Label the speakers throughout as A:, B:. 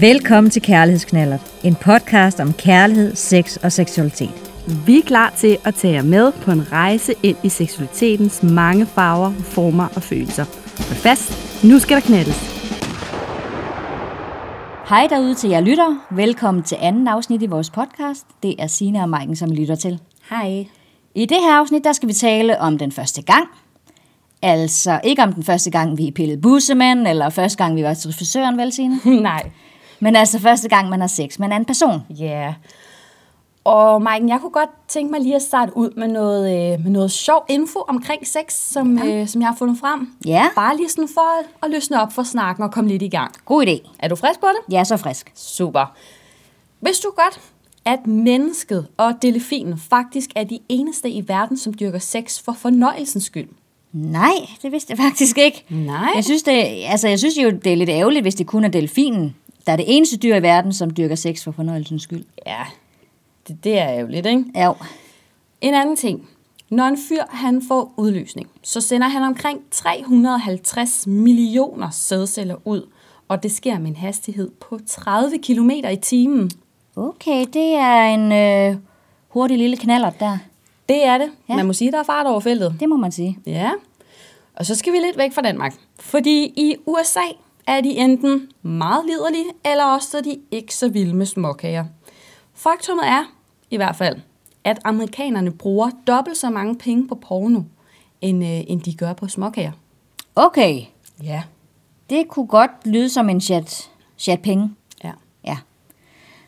A: Velkommen til Kærlighedsknaller, en podcast om kærlighed, sex og seksualitet.
B: Vi er klar til at tage jer med på en rejse ind i seksualitetens mange farver, former og følelser. Hold fast, nu skal der knaldes.
C: Hej derude til jer lytter. Velkommen til anden afsnit i vores podcast. Det er Sina og Maiken, som I lytter til.
D: Hej.
C: I det her afsnit, der skal vi tale om den første gang. Altså ikke om den første gang, vi pillede bussemænd, eller første gang, vi var til frisøren, vel Signe?
D: Nej.
C: Men altså første gang, man har sex med en anden person.
D: Ja. Yeah. Og Maiken, jeg kunne godt tænke mig lige at starte ud med noget, øh, med noget sjov info omkring sex, som, ja. øh, som jeg har fundet frem.
C: Ja.
D: Bare lige sådan for at, at løsne op for snakken og komme lidt i gang.
C: God idé.
D: Er du frisk på det?
C: Jeg er så frisk.
D: Super. Vidste du godt, at mennesket og delfinen faktisk er de eneste i verden, som dyrker sex for fornøjelsens skyld?
C: Nej, det vidste jeg faktisk ikke.
D: Nej.
C: Jeg synes, det, altså, jeg synes jo, det er lidt ærgerligt, hvis det kun er delfinen, der er det eneste dyr i verden, som dyrker sex for fornøjelsens skyld.
D: Ja, det, det er jo lidt, ikke?
C: Jo.
D: En anden ting. Når en fyr han får udløsning, så sender han omkring 350 millioner sædceller ud, og det sker med en hastighed på 30 km i timen.
C: Okay, det er en øh, hurtig lille knallert der.
D: Det er det.
C: Ja.
D: Ja. Man må sige, at der er fart over feltet.
C: Det må man sige.
D: Ja. Og så skal vi lidt væk fra Danmark. Fordi i USA er de enten meget liderlige, eller også så er de ikke så vilde med småkager. Faktummet er, i hvert fald, at amerikanerne bruger dobbelt så mange penge på porno, end, øh, end de gør på småkager.
C: Okay,
D: Ja.
C: det kunne godt lyde som en chat, chat penge.
D: Ja.
C: Ja.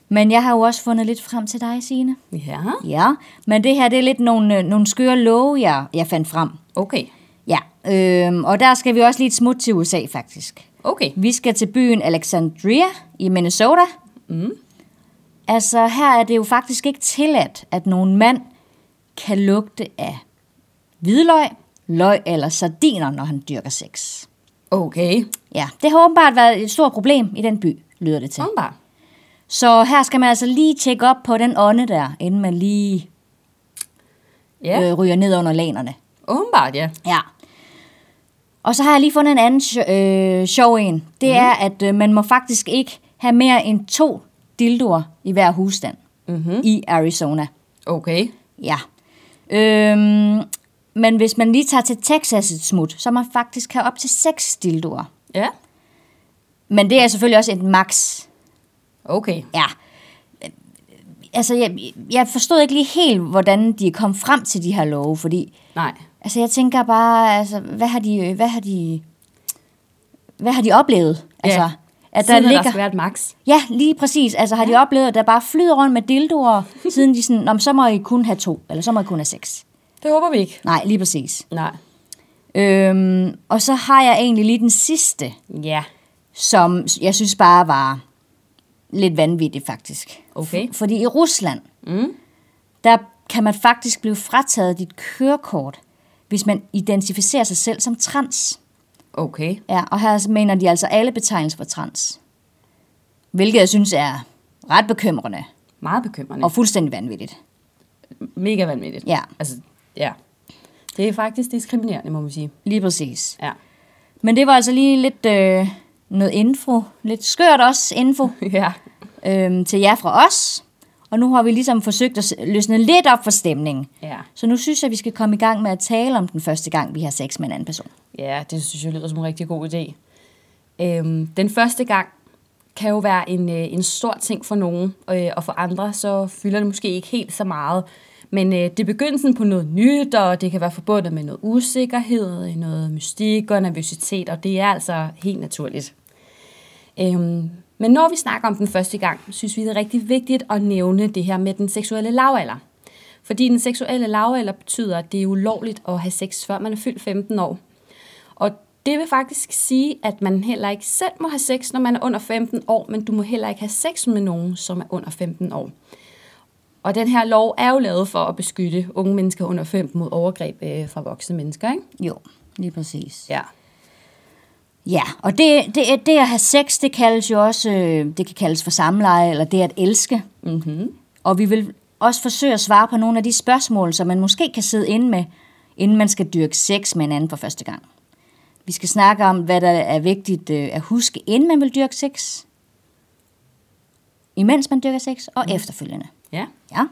C: Men jeg har jo også fundet lidt frem til dig, Signe.
D: Ja,
C: Ja, men det her det er lidt nogle, øh, nogle skøre love, jeg, jeg fandt frem.
D: okay.
C: Ja, øhm, og der skal vi også lige et smut til USA, faktisk.
D: Okay.
C: Vi skal til byen Alexandria i Minnesota. Mm. Altså, her er det jo faktisk ikke tilladt, at nogen mand kan lugte af hvidløg, løg eller sardiner, når han dyrker sex.
D: Okay.
C: Ja, det har åbenbart været et stort problem i den by, lyder det til.
D: Sådan bare.
C: Så her skal man altså lige tjekke op på den ånde der, inden man lige
D: Ja,
C: øh, ryger ned under lanerne.
D: åbenbart ja.
C: Ja. Og så har jeg lige fundet en anden sj- øh, sjov en. Det mm. er, at øh, man må faktisk ikke have mere end to dildoer i hver husstand mm-hmm. i Arizona.
D: Okay.
C: Ja. Øhm, men hvis man lige tager til Texas et smut, så må man faktisk have op til seks dildoer.
D: Ja,
C: Men det er selvfølgelig også et max.
D: okay.
C: Ja. Øh, Altså, jeg, jeg forstod ikke lige helt, hvordan de kom frem til de her love, fordi
D: Nej.
C: Altså, jeg tænker bare, altså, hvad har de, hvad har de, hvad har de oplevet? Altså,
D: Ja.
C: at der
D: Siden
C: ligger...
D: der skal være et max.
C: Ja, lige præcis. Altså, har de oplevet, at der bare flyder rundt med dildoer, siden de sådan, "Nå, men så må I kun have to, eller så må I kun have seks.
D: Det håber vi ikke.
C: Nej, lige præcis.
D: Nej.
C: Øhm, og så har jeg egentlig lige den sidste,
D: Ja.
C: som jeg synes bare var lidt vanvittig, faktisk.
D: Okay.
C: Fordi i Rusland, mm. der kan man faktisk blive frataget dit kørekort, hvis man identificerer sig selv som trans.
D: Okay.
C: Ja, og her mener de altså alle betegnelser for trans. Hvilket jeg synes er ret bekymrende
D: Meget bekymrende.
C: og fuldstændig vanvittigt.
D: Mega vanvittigt.
C: Ja.
D: Altså, ja. Det er faktisk diskriminerende, må man sige.
C: Lige præcis.
D: Ja.
C: Men det var altså lige lidt øh, noget info. Lidt skørt også info
D: ja.
C: øh, til jer fra os. Og nu har vi ligesom forsøgt at s- løsne lidt op for stemningen.
D: Ja.
C: Så nu synes jeg, vi skal komme i gang med at tale om den første gang, vi har sex med en anden person.
D: Ja, det synes jeg lyder som en rigtig god idé. Øhm, den første gang kan jo være en, øh, en stor ting for nogen, øh, og for andre så fylder det måske ikke helt så meget. Men øh, det er begyndelsen på noget nyt, og det kan være forbundet med noget usikkerhed, øh, noget mystik og nervøsitet, og det er altså helt naturligt. Øhm, men når vi snakker om den første gang, synes vi, det er rigtig vigtigt at nævne det her med den seksuelle lavalder. Fordi den seksuelle lavalder betyder, at det er ulovligt at have sex, før man er fyldt 15 år. Og det vil faktisk sige, at man heller ikke selv må have sex, når man er under 15 år, men du må heller ikke have sex med nogen, som er under 15 år. Og den her lov er jo lavet for at beskytte unge mennesker under 15 mod overgreb øh, fra voksne mennesker, ikke?
C: Jo, lige præcis.
D: Ja.
C: Ja, og det, det, det at have sex, det kaldes jo også, øh, det kan kaldes for samleje, eller det at elske. Mm-hmm. Og vi vil også forsøge at svare på nogle af de spørgsmål, som man måske kan sidde inde med, inden man skal dyrke sex med en anden for første gang. Vi skal snakke om, hvad der er vigtigt øh, at huske, inden man vil dyrke sex. imens man dyrker sex, og mm. efterfølgende.
D: Ja.
C: Ja.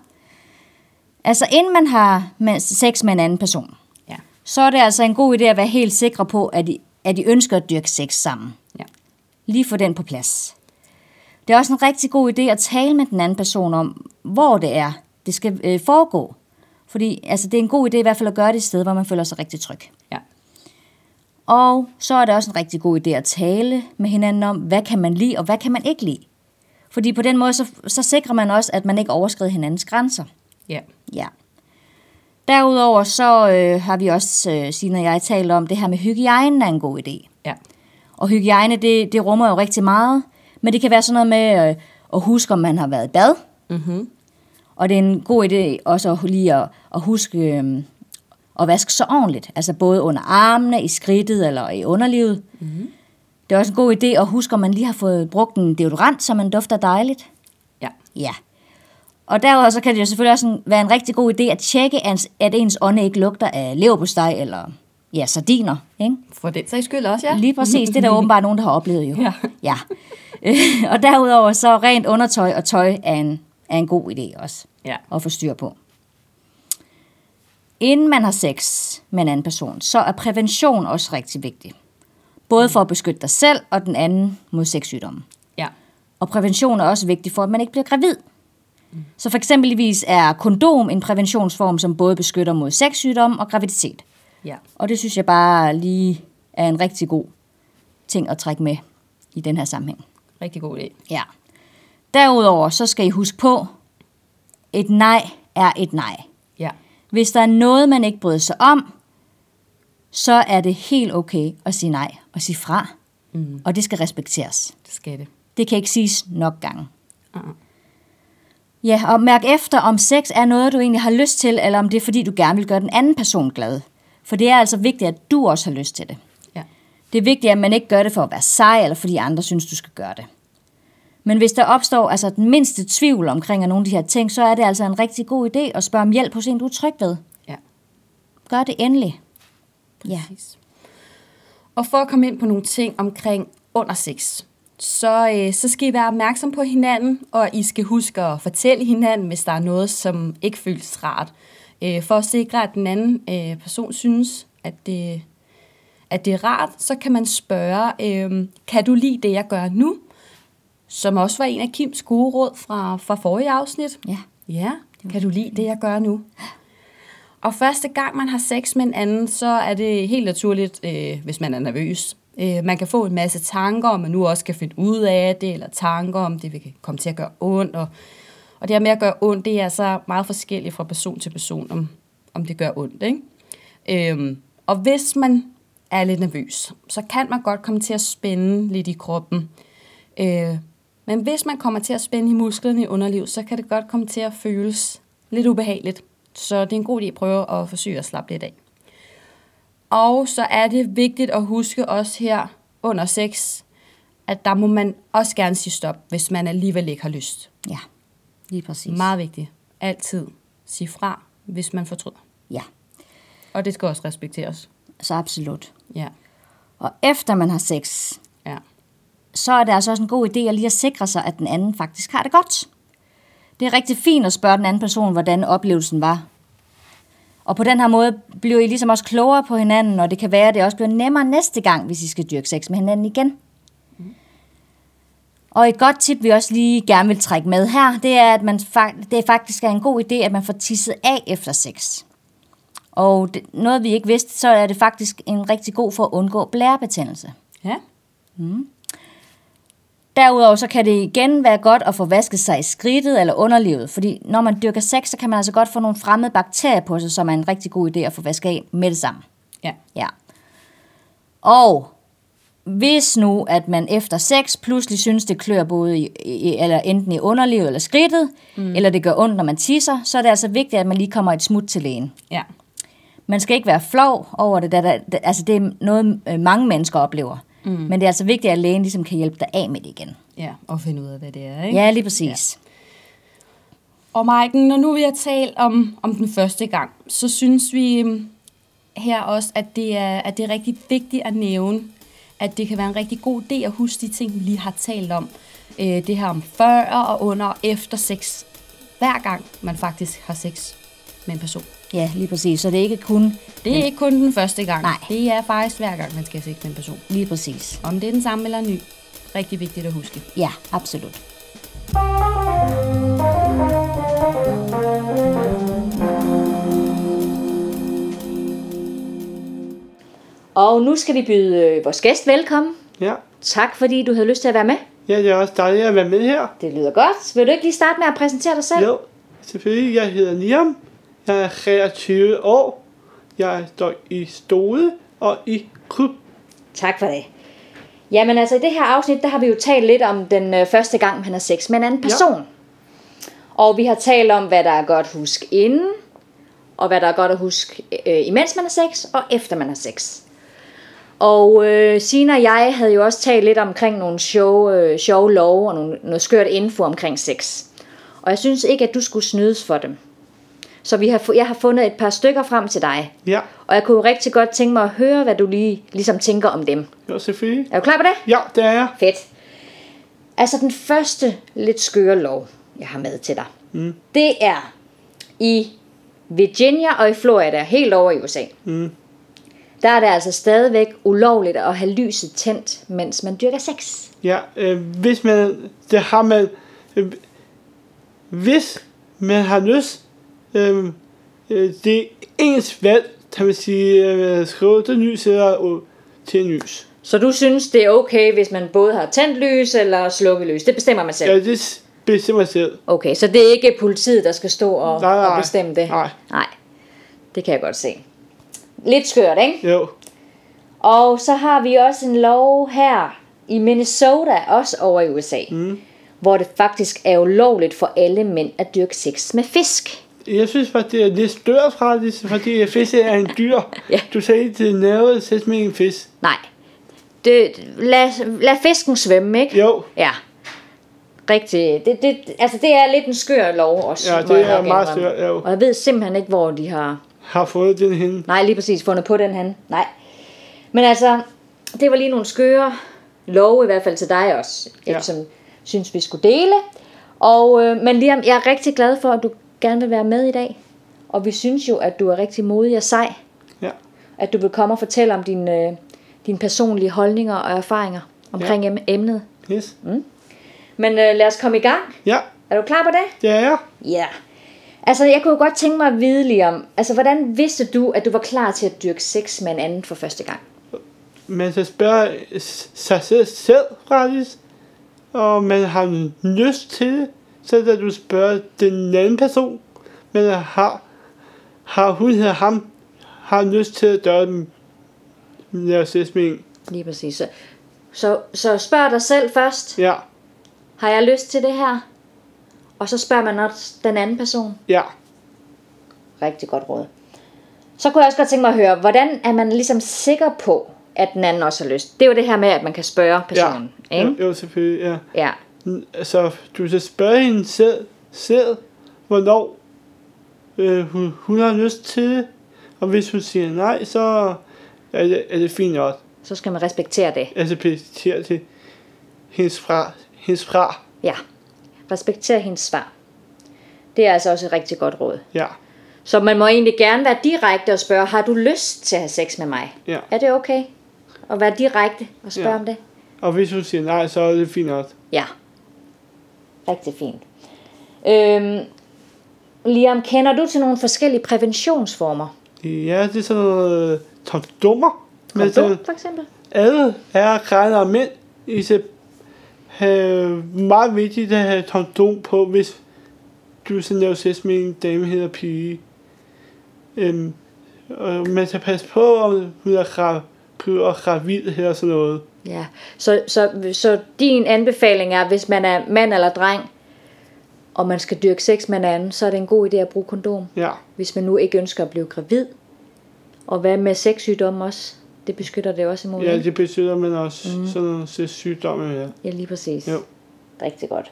C: Altså inden man har med- sex med en anden person,
D: Ja.
C: så er det altså en god idé at være helt sikre på, at I, at I ønsker at dyrke sex sammen.
D: Ja.
C: Lige få den på plads. Det er også en rigtig god idé at tale med den anden person om, hvor det er, det skal øh, foregå. Fordi altså, det er en god idé i hvert fald at gøre det et sted, hvor man føler sig rigtig tryg.
D: Ja.
C: Og så er det også en rigtig god idé at tale med hinanden om, hvad kan man lide og hvad kan man ikke lide. Fordi på den måde, så, så sikrer man også, at man ikke overskrider hinandens grænser.
D: Ja.
C: Ja. Derudover så øh, har vi også, øh, Signe og jeg, talt om det her med hygiejne er en god idé.
D: Ja.
C: Og hygiejne, det, det rummer jo rigtig meget. Men det kan være sådan noget med øh, at huske, om man har været i bad.
D: Mhm.
C: Og det er en god idé også at lige at, at huske øh, at vaske sig ordentligt. Altså både under armene, i skridtet eller i underlivet. Mm-hmm. Det er også en god idé at huske, om man lige har fået brugt en deodorant, så man dufter dejligt.
D: Ja.
C: Ja. Og derudover så kan det jo selvfølgelig også en- være en rigtig god idé at tjekke, ans- at ens ånde ikke lugter af leverpostej eller ja, sardiner. Ikke?
D: For den sags skyld også, ja.
C: Lige præcis, det er der åbenbart nogen, der har oplevet jo.
D: Ja.
C: ja. Øh, og derudover så rent undertøj og tøj er en, er en god idé også
D: Ja.
C: at få styr på. Inden man har sex med en anden person, så er prævention også rigtig vigtig. Både for at beskytte dig selv og den anden mod sexsygdomme.
D: Ja.
C: Og prævention er også vigtig for, at man ikke bliver gravid. Så for eksempelvis er kondom en præventionsform, som både beskytter mod sexsygdomme og graviditet.
D: Ja.
C: Og det synes jeg bare lige er en rigtig god ting at trække med i den her sammenhæng.
D: Rigtig god idé.
C: Ja. Derudover så skal I huske på, et nej er et nej.
D: Ja.
C: Hvis der er noget, man ikke bryder sig om, så er det helt okay at sige nej og sige fra. Mm. Og det skal respekteres.
D: Det skal det.
C: Det kan ikke siges nok gange.
D: Uh-uh.
C: Ja, og mærk efter, om sex er noget, du egentlig har lyst til, eller om det er, fordi du gerne vil gøre den anden person glad. For det er altså vigtigt, at du også har lyst til det.
D: Ja.
C: Det er vigtigt, at man ikke gør det for at være sej, eller fordi andre synes, du skal gøre det. Men hvis der opstår altså den mindste tvivl omkring af nogle af de her ting, så er det altså en rigtig god idé at spørge om hjælp hos en, du er tryg ved.
D: Ja.
C: Gør det endelig. Ja.
D: Præcis. Og for at komme ind på nogle ting omkring under sex, så, øh, så skal I være opmærksom på hinanden, og I skal huske at fortælle hinanden, hvis der er noget, som ikke føles rart. Øh, for at sikre, at den anden øh, person synes, at det, at det er rart, så kan man spørge, øh, kan du lide det, jeg gør nu? Som også var en af Kims gode råd fra, fra forrige afsnit.
C: Ja.
D: Ja, kan du lide det, jeg gør nu? Og første gang, man har sex med en anden, så er det helt naturligt, øh, hvis man er nervøs. Øh, man kan få en masse tanker, om man nu også kan finde ud af det, eller tanker om det vil komme til at gøre ondt. Og, og det her med at gøre ondt, det er altså meget forskelligt fra person til person, om, om det gør ondt. Ikke? Øh, og hvis man er lidt nervøs, så kan man godt komme til at spænde lidt i kroppen. Øh, men hvis man kommer til at spænde i musklerne i underliv, så kan det godt komme til at føles lidt ubehageligt. Så det er en god idé at prøve at forsøge at slappe lidt af. Og så er det vigtigt at huske også her under sex, at der må man også gerne sige stop, hvis man alligevel ikke har lyst.
C: Ja. Lige præcis.
D: Meget vigtigt. Altid sige fra, hvis man fortryder.
C: Ja,
D: Og det skal også respekteres.
C: så absolut.
D: Ja,
C: Og efter man har sex,
D: ja,
C: så er det altså også en god idé at lige at sikre sig, at den anden faktisk har det godt. Det er rigtig fint at spørge den anden person, hvordan oplevelsen var. Og på den her måde bliver I ligesom også klogere på hinanden, og det kan være, at det også bliver nemmere næste gang, hvis I skal dyrke sex med hinanden igen. Og et godt tip, vi også lige gerne vil trække med her, det er, at man fak- det faktisk er en god idé, at man får tisset af efter sex. Og det, noget, vi ikke vidste, så er det faktisk en rigtig god for at undgå blærebetændelse.
D: ja,
C: Derudover så kan det igen være godt at få vasket sig i skridtet eller underlivet, fordi når man dyrker sex, så kan man altså godt få nogle fremmede bakterier på sig, som er en rigtig god idé at få vasket af med det samme.
D: ja,
C: Ja. Og hvis nu, at man efter sex pludselig synes, det klør både i, i, eller enten i underlivet eller skridtet, mm. eller det gør ondt, når man tisser, så er det altså vigtigt, at man lige kommer et smut til lægen.
D: ja,
C: Man skal ikke være flov over det, da der, da, altså det er noget, øh, mange mennesker oplever. Mm. Men det er altså vigtigt, at lægen ligesom kan hjælpe dig af med det igen.
D: ja. Og finde ud af, hvad det er, ikke?
C: Ja, lige præcis.
D: Og Maiken, når nu vi har talt om, om den første gang, så synes vi øhm, her også, at det, er, at det er rigtig vigtigt at nævne, at det kan være en rigtig god idé at huske de ting, vi lige har talt om. Øh, det her om før og under og efter sex. Hver gang man faktisk har sex med en person.
E: Ja, lige præcis. Så det er ikke kun
D: Det er ikke kun den første gang.
E: Nej.
D: Det er faktisk hver gang, man skal have sex med en person.
E: lige præcis.
D: Om det er den samme eller en ny. Rigtig vigtigt at huske.
E: Ja, absolut. Og nu skal vi byde øh, vores gæst velkommen.
F: Ja.
E: Tak fordi du havde lyst til at være med.
F: ja, det er også dejligt at være med her.
E: Det lyder godt. Vil du ikke lige starte med at præsentere dig selv?
F: Jo, selvfølgelig. Jeg hedder Liam. Jeg er 23 år. Jeg står i stole og i klub.
E: Tak for det. Jamen altså, i det her afsnit, der har vi jo talt lidt om den øh, første gang, man har sex med en anden person. Ja. Og vi har talt om, hvad der er godt at huske inden, og hvad der er godt at huske, øh, imens man har sex, og efter man har sex. Og øh, Sina og jeg havde jo også talt lidt omkring nogle sjove, øh, sjove love og nogle, noget skørt info omkring sex. Og jeg synes ikke, at du skulle snydes for dem. Så vi har, fu- jeg har fundet et par stykker frem til dig.
F: Ja,
E: Og jeg kunne jo rigtig godt tænke mig at høre, hvad du lige ligesom tænker om dem.
F: jo, selvfølgelig.
E: Er du klar på det?
F: Ja, det er jeg.
E: Fedt. Altså den første lidt skøre lov, jeg har med til dig, mm. det er i Virginia og i Florida, helt over i USA, mm. der er det altså stadigvæk ulovligt at have lyset tændt, mens man dyrker sex.
F: Ja, øh, hvis man, det har man, øh, hvis man har lyst, øh, øh, det er ens valg, kan man sige, øh, skrive det lys eller øh, til lys.
E: Så du synes, det er okay, hvis man både har tændt lys eller slukket lys? Det bestemmer man selv?
F: Ja, det s- bestemmer selv.
E: Okay, så det er ikke politiet, der skal stå og,
F: Nej, nej.
E: og bestemme det?
F: Nej.
E: Nej, det kan jeg godt se. Lidt skørt, ikke?
F: Jo,
E: Og så har vi også en lov her i Minnesota, også over i USA, mm. hvor det faktisk er ulovligt for alle mænd at dyrke sex med fisk.
F: jeg synes faktisk, det er lidt større fra det, fordi fisk er en dyr.
E: Ja.
F: Du sagde ikke til nervet, sæt med en fisk.
E: Nej, det, lad, lad fisken svømme, ikke?
F: Jo,
E: Ja, rigtig. Det, det, altså, det er lidt en skør lov også.
F: Ja,
E: må
F: det
E: jeg
F: er
E: nok
F: meget
E: indrømme.
F: skør, jo.
E: Og jeg ved simpelthen ikke, hvor de har...
F: har fået den hen.
E: Nej, lige præcis fundet på den han. Nej. Men altså, det var lige nogle skøre love i hvert fald til dig også,
F: Ja.
E: ja. som synes, vi skulle dele. Og, øh, men Liam, jeg er rigtig glad for, at du gerne vil være med i dag. Og vi synes jo, at du er rigtig modig og sej.
F: Ja.
E: At du vil komme og fortælle om dine øh, din personlige holdninger og erfaringer omkring ja. emnet.
F: Yes.
E: Mm. Men øh, lad os komme i gang.
F: Ja,
E: Er du klar på det?
F: det er jeg.
E: Ja. Yeah. Altså, jeg kunne jo godt tænke mig at vide lige om, altså, hvordan vidste du, at du var klar til at dyrke sex med en anden for første gang?
F: man skal spørge s- sig selv, selv faktisk, og man har lyst til det, så skal du spørge den anden person, men har, har hun eller ham har lyst til at gøre den lave sex med en.
E: Lige præcis. Så, så, så spørg dig selv først,
F: Ja,
E: har jeg lyst til det her? Og så spørger man også den anden person.
F: ja.
E: Rigtig godt råd. Så kunne jeg også godt tænke mig at høre, hvordan er man ligesom sikker på, at den anden også har lyst? Det er jo det her med, at man kan spørge personen.
F: ja.
E: Ikke?
F: Jo, jo, selvfølgelig, ja.
E: Ja.
F: Så du skal spørge hende selv, selv hvornår øh, hun, hun har lyst til det, og hvis hun siger nej, så er det, er det fint nok.
E: Så skal man respektere det.
F: altså præsentere til hendes fra, hendes fra,
E: Ja. Respektere hendes svar. Det er altså også et rigtig godt råd.
F: ja,
E: Så man må egentlig gerne være direkte og spørge, har du lyst til at have sex med mig?
F: ja.
E: Er det okay at være direkte og spørge ja.
F: Ja.
E: om det?
F: Og hvis hun siger nej, så er det fint nok.
E: Ja. Rigtig fint. Øhm, Liam, kender du til nogle forskellige præventionsformer?
F: Ja, det er sådan noget øh, tomdummer, men
E: Kondom,
F: sådan,
E: for eksempel?
F: alle er kræner og mænd, I skal have meget vigtigt at have kondom på, hvis du sådan laver sex med en dame eller pige. Øhm, og man skal passe på, om hun er gravid og gravid eller sådan noget.
E: Ja. Så, så, så din anbefaling er, hvis man er mand eller dreng, og man skal dyrke sex med en anden, så er det en god idé at bruge kondom,
F: Ja,
E: hvis man nu ikke ønsker at blive gravid. Og hvad med sexsygdomme også? Det beskytter det også imod. ikke?
F: ja det betyder, man også mm. sådan nogle sygdomme her.
E: Ja, lige præcis.
F: Jo.
E: Rigtig godt.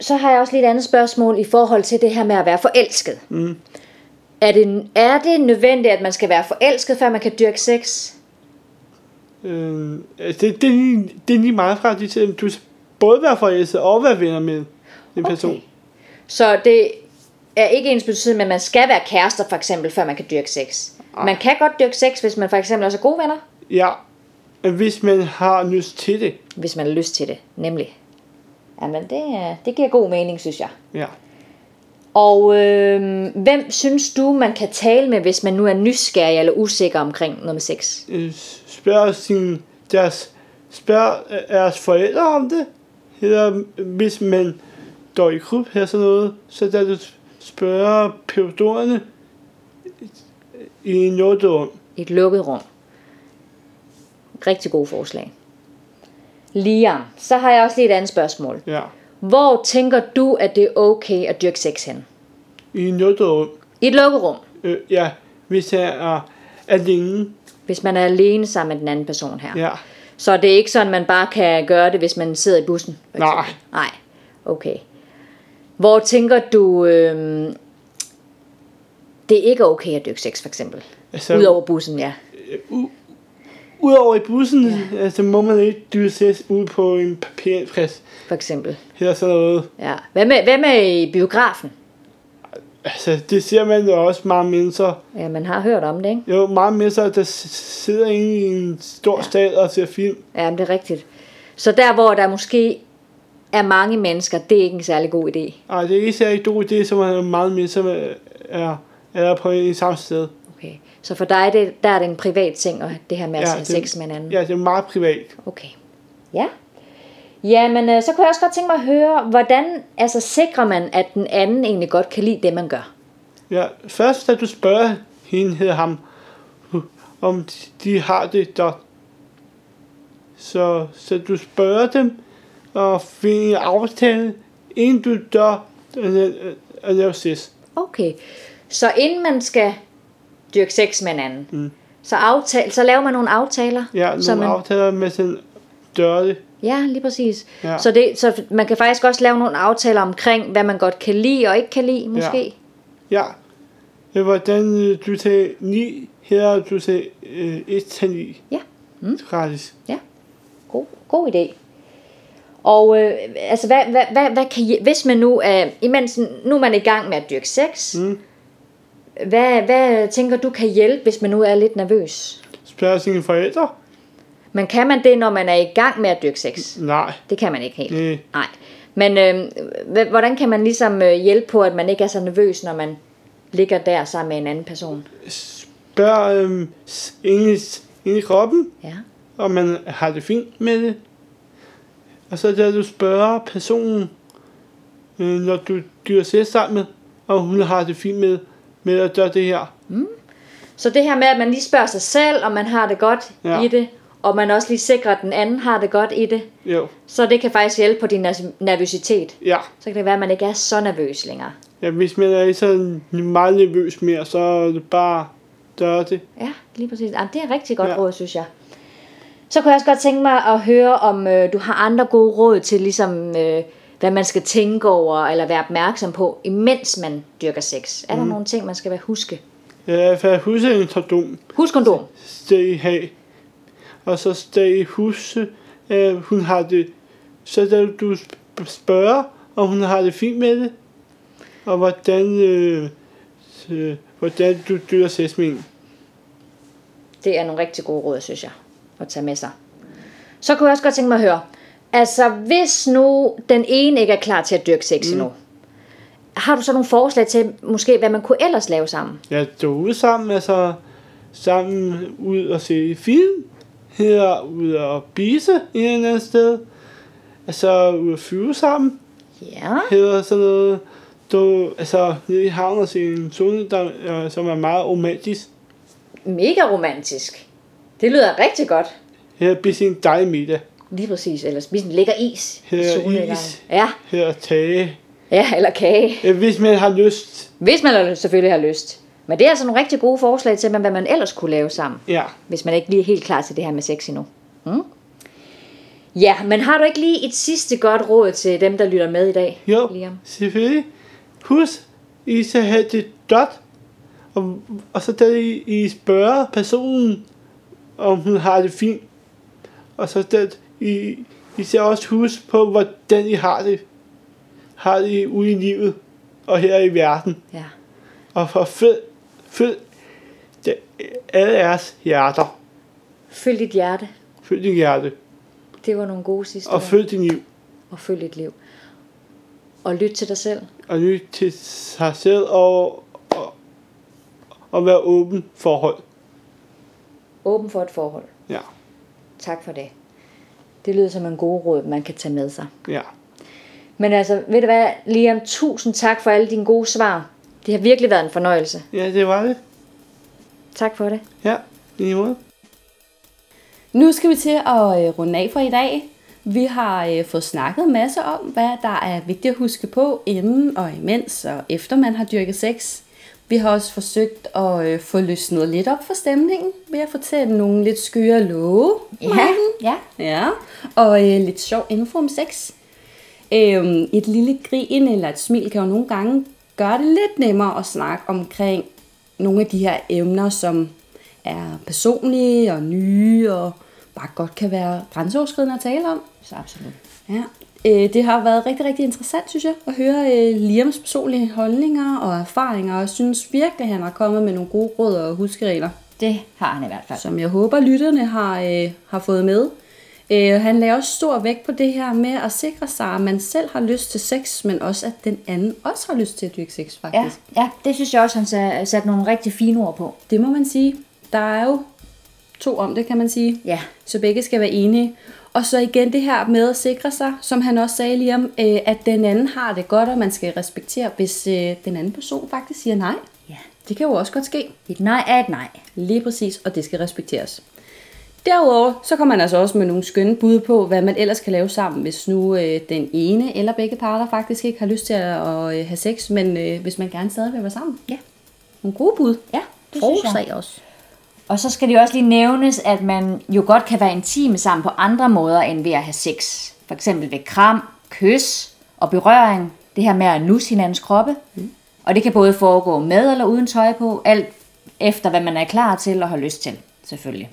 E: Så har jeg også lige et andet spørgsmål i forhold til det her med at være forelsket. Mm. Er, det, er det nødvendigt, at man skal være forelsket, før man kan dyrke sex?
F: Øh, altså, det, det, er lige, det er lige meget fra, at du skal både være forelsket og være venner med en person.
E: Okay. Så det er ikke ens betydning, men man skal være kærester for eksempel, før man kan dyrke sex. Man kan godt dyrke sex, hvis man for eksempel også er gode venner,
F: Ja, hvis man har lyst til det.
E: hvis man har lyst til det, nemlig. Jamen, det, er- det giver god mening, synes jeg.
F: Ja.
E: Og øh, hvem synes du, man kan tale med, hvis man nu er nysgerrig eller usikker omkring noget med sex?
F: Øh, spørg sin, deres, spørg øh, deres forældre om det. Eller hvis man går i klub eller sådan noget, så der du spørger perioderne i noget om.
E: I et lukket rum. Rigtig gode forslag. Liam, så har jeg også lige et andet spørgsmål.
F: Ja.
E: Hvor tænker du, at det er okay at dyrke sex hen?
F: I noget om.
E: I et lukket rum,
F: Øh, ja, hvis jeg er alene.
E: hvis man er alene sammen med den anden person her.
F: Ja.
E: Så det er ikke sådan, man bare kan gøre det, hvis man sidder i bussen? for
F: Nej.
E: eksempel? Nej, okay. Hvor tænker du, øhm, det er ikke okay at dyrke sex, for eksempel?
F: Altså,
E: Så... Udover bussen, ja.
F: udover i bussen, ja. altså, må man ikke dyre ses ud på en papirplads
E: For eksempel.
F: eller sådan noget.
E: Ja. Hvad, med, hvad med i biografen?
F: Altså, det ser man jo også meget mindre.
E: Ja, man har hørt om det, ikke?
F: Jo, meget mindre, der s- sidder inde i en stor ja. sal og ser film.
E: Ja, men det er rigtigt. Så der, hvor der måske er mange mennesker, det er ikke en særlig god idé.
F: Og det er ikke særlig god idé, som er meget mindre øh, er, er på en samme sted.
E: Okay. Så for dig, det, der er det en privat ting, og det her med at
F: Ja,
E: ja, have Altså
F: det-
E: sex med hinanden.
F: Ja, det er meget privat.
E: Okay. Ja. Jamen, øh, så kunne jeg også godt tænke mig at høre, hvordan altså, sikrer man, at den anden egentlig godt kan lide det, man gør?
F: Ja, først da du spørger hende eller ham, hu- om de har det godt. Så, så du spørger dem og finder en aftale, inden du dør øh, og laver sidst.
E: Okay. Så inden man skal dyrke sex med hinanden, mm. så, aftale, så laver man nogle aftaler.
F: Ja, nogle
E: så man,
F: aftaler med sin dørte.
E: ja lige præcis.
F: Ja.
E: Ja. Så, det, så man kan faktisk også lave nogle aftaler omkring, hvad man godt kan lide og ikke kan lide, måske. Ja.
F: Ja. Øh, Hvordan øh, du sagde 9, her er du sagde øh, 1 til 9.
E: Ja.
F: Mm. Gratis.
E: God, god idé. Og øh, altså, hvad, hvad, hvad, hvad kan I, hvis man nu er, imens nu er man i gang med at dyrke sex,
F: Mm.
E: mm. hvad, hvad tænker du kan hjælpe, hvis man nu er lidt nervøs?
F: Spørg sine forældre?
E: Men kan man det, når man er i gang med at dyrke sex?
F: Nej.
E: Det kan man ikke helt.
F: Øh,
E: Nej. Men øh, hva- hvordan kan man ligesom øh, hjælpe på, at man ikke er så nervøs, når man ligger der sammen med en anden person?
F: spørg øh, inde, i- inde i kroppen,
E: Ja.
F: om man har det fint med det. Og så lader du spørge personen, øh, når du dyrer sig sammen med, og hun har det fint med, med at gøre det her.
E: Så det her med, at man lige spørger sig selv, om man har det godt
F: Ja.
E: ja. i det, og man også lige sikrer, at den anden har det godt i det,
F: Jo.
E: Så det kan faktisk hjælpe på din nas- nervøsitet.
F: Ja.
E: Så kan det være, at man ikke er så nervøs længere.
F: ja. Hvis man er så meget nervøs mere, så er det bare gør det.
E: Ja, lige præcis. Jamen, det er rigtig godt
F: Ja.
E: ja. råd, synes jeg. Så kunne jeg også godt tænke mig at høre, om øh, du har andre gode råd til, ligesom, øh, hvad man skal tænke over eller være opmærksom på, imens man dyrker sex. Er der nogle ting, man skal være huske?
F: Ja, for at huske en kondom,
E: Husk kondom.
F: skal I have. Og så skal I huske, at hun har det. Så skal du sp- spørge, om hun har det fint med det. Og hvordan, øh, øh, hvordan du dyrer sex med hende.
E: Det er nogle rigtig gode råd, synes jeg, at tage med sig. Så kunne jeg også godt tænke mig at høre, altså hvis nu den ene ikke er klar til at dyrke sex mm. endnu, har du så nogle forslag til, måske hvad man kunne ellers lave sammen?
F: Ja, duge sammen, altså sammen ud og se film. Her ud og bise et eller andet sted. Altså ud og flyve sammen.
E: Ja,
F: hedder sådan noget. Du, altså, nede i havnen og se en zone, der, øh, som er meget romantisk.
E: mega romantisk. Det lyder rigtig godt.
F: Her bliver sin dejlig middag.
E: Lige præcis, eller spise en lækker is. i
F: Her
E: solnedgangen.
F: is.
E: Ja,
F: Her tage.
E: ja, eller kage.
F: Øh, Hvis man har lyst.
E: Hvis man har- selvfølgelig har lyst. Men det er altså nogle rigtig gode forslag til, hvad man ellers kunne lave sammen.
F: Ja.
E: hvis man ikke lige er helt klar til det her med sex endnu. Mm? Ja, men har du ikke lige et sidste godt råd til dem, der lytter med i dag?
F: Jo,
E: Liam?
F: selvfølgelig. Husk, I skal have det godt. Og, og så der I, I spørger personen, om hun har det fint og så skal I, I skal også huske på, hvordan I har det. Har det ude i livet, og her i verden.
G: Ja.
F: Og for følg, følg det, alle jeres hjerter.
G: Følg dit hjerte.
F: Følg din hjerte,
G: Det var nogle gode sidste
F: og
G: ord.
F: følg din liv.
G: Og følg dit liv. Og lyt til dig selv.
F: Og lyt til sig selv, og, og, og være åben forhold.
G: Åben for et forhold.
F: Ja,
G: Tak for det. Det lyder som en god råd, man kan tage med sig.
F: ja.
G: Men altså, ved du hvad, Liam, tusind tak for alle dine gode svar. Det har virkelig været en fornøjelse.
F: Ja, det var det.
G: Tak for det.
F: Ja, i lige måde.
D: Nu skal vi til at øh, runde af for i dag. Vi har øh, fået snakket en masse om, hvad der er vigtigt at huske på, inden og imens og efter man har dyrket sex. Vi har også forsøgt at øh, få løsnet lidt op for stemningen ved at fortælle nogle lidt skøre love. Maiken.
E: ja.
D: Ja, og øh, lidt sjov info om sex. Øhm, et lille grin eller et smil kan jo nogle gange gøre det lidt nemmere at snakke omkring nogle af de her emner, som er personlige og nye og bare godt kan være grænseoverskridende at tale om.
E: Så absolut.
D: Ja. Øh, det har været rigtig, rigtig interessant, synes jeg, at høre øh, Liams personlige holdninger og erfaringer, og jeg synes virkelig, han har kommet med nogle gode råd og huskeregler
E: Det har han i hvert fald.
D: som jeg håber, lytterne har, øh, har fået med. Øh, han lagde også stor vægt på det her med at sikre sig, at man selv har lyst til sex, men også at den anden også har lyst til at dyrke sex, faktisk. Ja.
E: Ja, ja, det synes jeg også, han sa- satte nogle rigtig fine ord på.
D: Det må man sige. Der er jo to om det, kan man sige.
E: Ja.
D: Så begge skal være enige. Og så igen det her med at sikre sig, som han også sagde lige om, øh, at den anden har det godt, og man skal respektere, hvis øh, den anden person faktisk siger nej.
E: Ja.
D: Det kan jo også godt ske.
E: Et nej er et nej.
D: Lige præcis, og det skal respekteres. Derudover så kommer man altså også med nogle skønne bud på, hvad man ellers kan lave sammen, hvis nu øh, den ene eller begge parter faktisk ikke har lyst til at, at øh, have sex, men øh, hvis man gerne stadig vil være sammen.
E: Ja.
D: Nogle gode bud.
E: Ja, det synes jeg.
D: Forslag også.
E: Og så skal det også lige nævnes, at man jo godt kan være intime sammen på andre måder, end ved at have sex. For eksempel ved kram, kys og berøring. Det her med at nusse hinandens kroppe. Mm. Og det kan både foregå med eller uden tøj på, alt efter hvad man er klar til og har lyst til, selvfølgelig.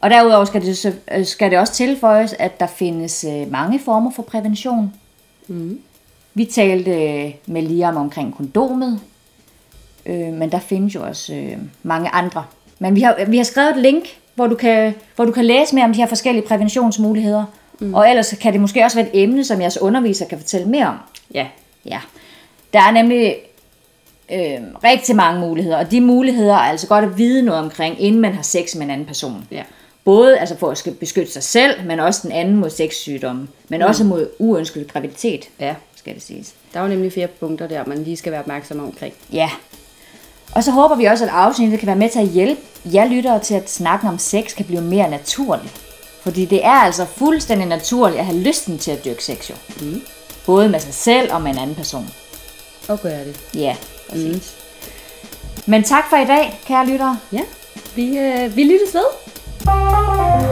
E: Og derudover skal det, så- øh, skal det også tilføjes, at der findes øh, mange former for prævention. Mm. Vi talte øh, med Liam omkring kondomet, Øh, men der findes jo også øh, mange andre. Men vi har, vi har skrevet et link, hvor du, kan, hvor du kan læse mere om de her forskellige præventionsmuligheder. Mm. Og ellers kan det måske også være et emne, som jeres underviser kan fortælle mere om.
D: Ja.
E: Ja. Der er nemlig øh, rigtig mange muligheder, og de muligheder er altså godt at vide noget omkring, inden man har sex med en anden person.
D: Ja.
E: Både altså for at skal beskytte sig selv, men også den anden mod sexsygdomme, men mm. også mod uønsket graviditet,
D: Ja.
E: skal det siges.
D: Der er jo nemlig flere punkter der, man lige skal være opmærksom omkring.
E: Ja. Og så håber vi også, at afsnittet kan være med til at hjælpe jer lyttere til, at snakken om sex kan blive mere naturlig. Fordi det er altså fuldstændig naturligt at have lysten til at dyrke sex jo. Mm. Både med sig selv og med en anden person.
D: Og gør det.
E: Ja, præcis. Mm. Men tak for i dag, kære lyttere.
D: Ja. Vi, øh, vi lyttes ved.
H: Thank you.